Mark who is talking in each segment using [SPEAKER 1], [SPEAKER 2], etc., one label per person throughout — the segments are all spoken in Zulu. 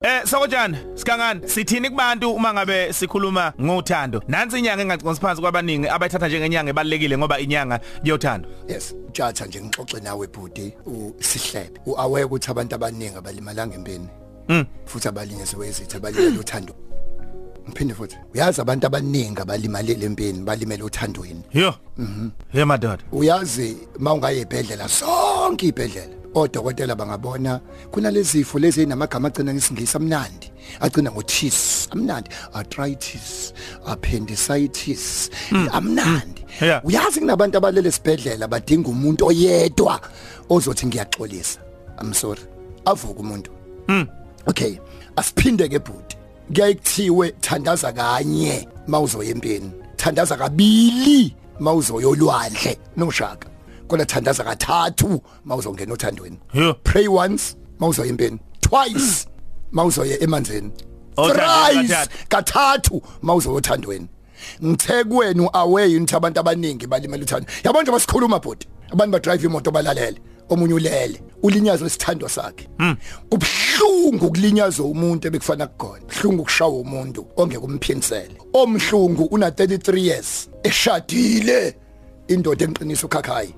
[SPEAKER 1] Eh Sawojana, Sikangani, sithini kubantu uma ngabe sikhuluma ngothando. Nansi inyanga engaqonsi phansi kwabaningi abayithatha njengenyanga ebalekile ngoba inyanga yothando.
[SPEAKER 2] yes utshatha nje ngixoxe nawe bhuti usihlebe uaware ukuthi abantu abaningi abalimala ngempeni
[SPEAKER 1] Mm.
[SPEAKER 2] futhi abalinye sewezitha abalimele uthando ngiphinde futhi uyazi abantu abaningi abalimalele empeni balimele othandweni
[SPEAKER 1] Yo. Mhm. Hey madod.
[SPEAKER 2] uyazi mawungaye ebhedlela sonke ibhedlela odokotela bangabona kunalezifo lezi namagama agcina ngesingisi amnandi agcina ngothis amnandi arthritis appendicitis amnandi
[SPEAKER 1] Yeah.
[SPEAKER 2] uyazi kunabantu abalele sibhedlela badinga umuntu oyedwa ozothi ngiyaxolisa i'm sorry avuka umuntu okay asiphinde ke bhuti kuyayikuthiwe thandaza kanye mawuzoya empeni thandaza kabili mawuzoyolwandle noshaka kodwa thandaza kathathu mawuzongena othandweni
[SPEAKER 1] Yo.
[SPEAKER 2] pray once mawuzoya empeni twice mawuzoya emanzini
[SPEAKER 1] Othandweni
[SPEAKER 2] thrice kathathu mawuzoya othandweni ngithe kuwena uaway unthi abantu abaningi balimela uthando yabo nje basikhuluma bhuti abantu ba drive imoto balalele omunye ulele ulinyazwe isithandwa sakhe kubhlungu kulinyazwe umuntu ebekufana kugona bhlungu ukushawa umuntu ongeke umphinsele omhlungu una 33 years eshadile indoda enqinisa ukhakhayi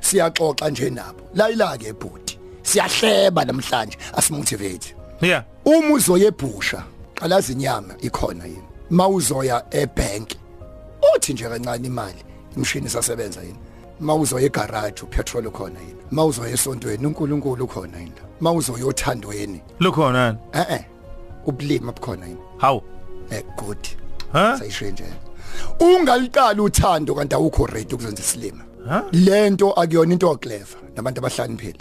[SPEAKER 2] siyaxoxa nje nabo layila ke bhuti siyahleba namhlanje asimotivate
[SPEAKER 1] Yeah.
[SPEAKER 2] uma uzoya ebhusha qala izinyama ikhona yini mawuzoya ebank uthi nje kancane imali imshini isasebenza yini mawuzoya egarage upetrol ukhona yini mawuzoya esontweni uNkulunkulu ukhona yini mawuzoya othandweni
[SPEAKER 1] Lukhona.
[SPEAKER 2] eh eh ubulima bukhona yini
[SPEAKER 1] How?
[SPEAKER 2] eh good
[SPEAKER 1] Huh?
[SPEAKER 2] sayishenje ungaliqali uthando kanti awukho ready ukuzwenza isilima
[SPEAKER 1] Huh?
[SPEAKER 2] lento akuyona into oclever nabantu abahlaniphile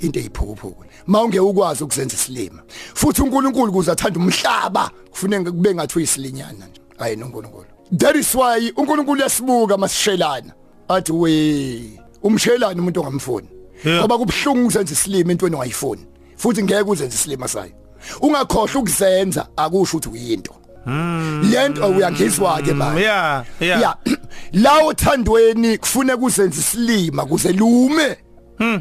[SPEAKER 2] into eyiphukuphuku mawunge ukwazi ukuzenza isilima futhi uNkulunkulu kuze athanda umhlaba kufuneka kube ngathi uyisilinyana nje hayi noNkulunkulu that is why uNkulunkulu yasibuka masishelana athi we umshelana umuntu ongamfuni
[SPEAKER 1] Yeah.
[SPEAKER 2] ngoba kubhlungu ukuzenza isilima entweni ongayifuni futhi ngeke uzenze isilima sayo ungakhohlwa ukuzenza akusho ukuthi uyinto lento uyangizwa ke manje
[SPEAKER 1] Yeah. Mm, Yeah.
[SPEAKER 2] ya la uthandweni kufuneka uzenze isilima kuze lume
[SPEAKER 1] Hmm.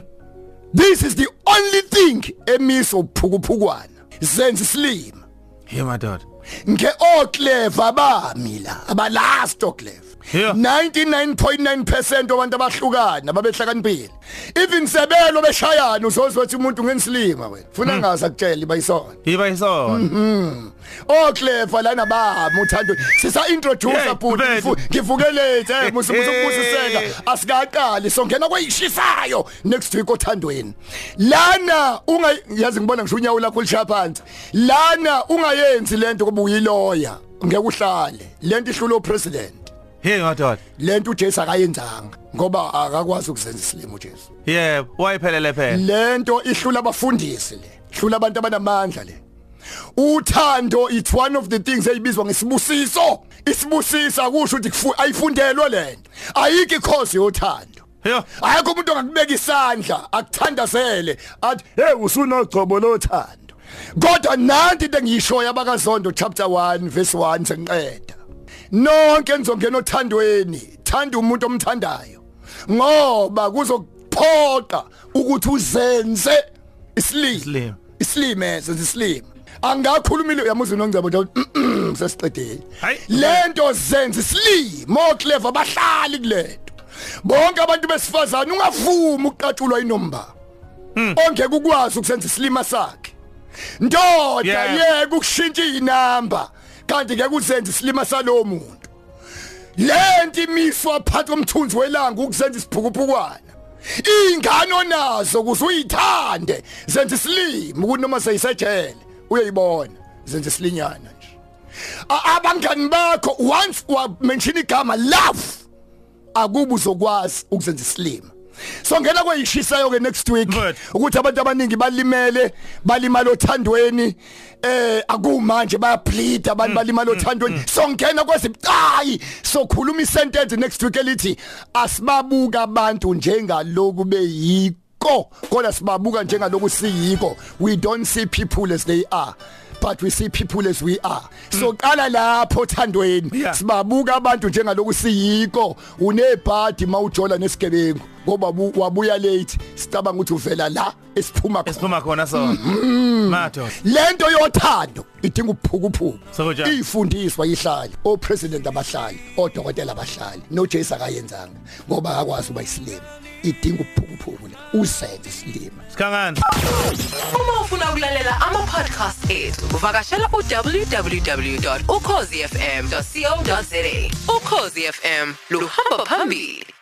[SPEAKER 2] this is the only thing emiso phukupukwana senze isilima
[SPEAKER 1] Hey madod.
[SPEAKER 2] nge oclever bami la abalast oclever
[SPEAKER 1] Yeah.
[SPEAKER 2] 99.9% abantu abahlukana babehlakaniphile even sebelo beshayana uzozwa ukuthi umuntu ngensilima wena ufuna
[SPEAKER 1] Hmm.
[SPEAKER 2] ngaza kutshela bayisona
[SPEAKER 1] Yiba isona.
[SPEAKER 2] oclever lana baba uthando sisa
[SPEAKER 1] Hey,
[SPEAKER 2] introduce bhuti
[SPEAKER 1] Bhedi.
[SPEAKER 2] ngifu- ngivukelete eh, musu musu
[SPEAKER 1] Hey.
[SPEAKER 2] kubusiseka asikaqali songena kweyishisayo next week othandweni lana unga yazi ngibona ngisho unyawo lakho lishaya phansi lana ungayenzi lento kuba uyiloya ngeke uhlale lento ihlulo president
[SPEAKER 1] Hey madod.
[SPEAKER 2] lento uJesu akayenzanga ngoba akakwazi ukuzenza isilimo uJesu
[SPEAKER 1] Yeah, wayiphelele
[SPEAKER 2] Mhm.
[SPEAKER 1] phela.
[SPEAKER 2] lento ihlula abafundisi le ihlula abantu abanamandla le uthando it's one of the things eyibizwa ngesibusiso isibusisa kusho ukuthi kufu- ayifundelwe lento ayikho ikhosi yothando
[SPEAKER 1] Yo.
[SPEAKER 2] ayikho umuntu ongakubeka isandla akuthandazele athi hey usunogcobo lothando kodwa nanti into engiyishoyo abakazondo chapter 1 verse 1 sengiqeda nonke nizongena othandweni thanda umuntu omthandayo ngoba kuzokuphoqa ukuthi uzenze
[SPEAKER 1] Isilima.
[SPEAKER 2] isilimo isilime senze isilimo angakhulumile uyamuzwa nongcebo nje Mm, ukuthi sesiqedile
[SPEAKER 1] Hayi.
[SPEAKER 2] lento zenza isilimo clever bahlali kulento bonke abantu besifazana ungavumi ukuqatshulwa inomba ongeke ukwazi ukusenza isilima sakhe ndoda
[SPEAKER 1] Yeah.
[SPEAKER 2] yeke ukushintsha inamba kanti ngeke uzenze isilima salomuntu lento imiswa phansi komthunzi welanga ukuzenza isiphukupukwana ingane onazo kuze uyithande zenza isilimo ukuthi noma seyisejele uyayibona zenza isilinyana nje A- abangani bakho once wamention igama love akubu uzokwazi ukuzenza isilimo so ngena kweyishisayo ke next week
[SPEAKER 1] Good.
[SPEAKER 2] ukuthi abantu abaningi balimele balimala othandweni eh akumanje bayaplead abantu balimala othandweni so ngena kwezibucayi sokhuluma isentence next week elithi asibabuka abantu njengaloku beyiko kodwa sibabuka njengaloku siyiko we don't see people as they are but we see people as we are so qala lapho thandweni
[SPEAKER 1] Yeah.
[SPEAKER 2] sibabuka abantu njengaloku siyiko unebhadi mawujola nesigebengu ngoba bu- wabuya late sicabanga ukuthi uvela la esiphuma khona
[SPEAKER 1] esiphuma khona sona madoda
[SPEAKER 2] lento yothando idinga uphukuphuku
[SPEAKER 1] Sekunjalo.
[SPEAKER 2] ifundiswa ihlali opresident abahlali odokotela abahlali noJesu akayenzanga ngoba akwazi ukuba isilima idinga uphukuphuku le usenze isilima
[SPEAKER 1] sikhangana
[SPEAKER 3] uma ufuna ukulalela ama-podcast ethu vakashela ku-www ukhozifm co za ukhozi fm luhamba phambili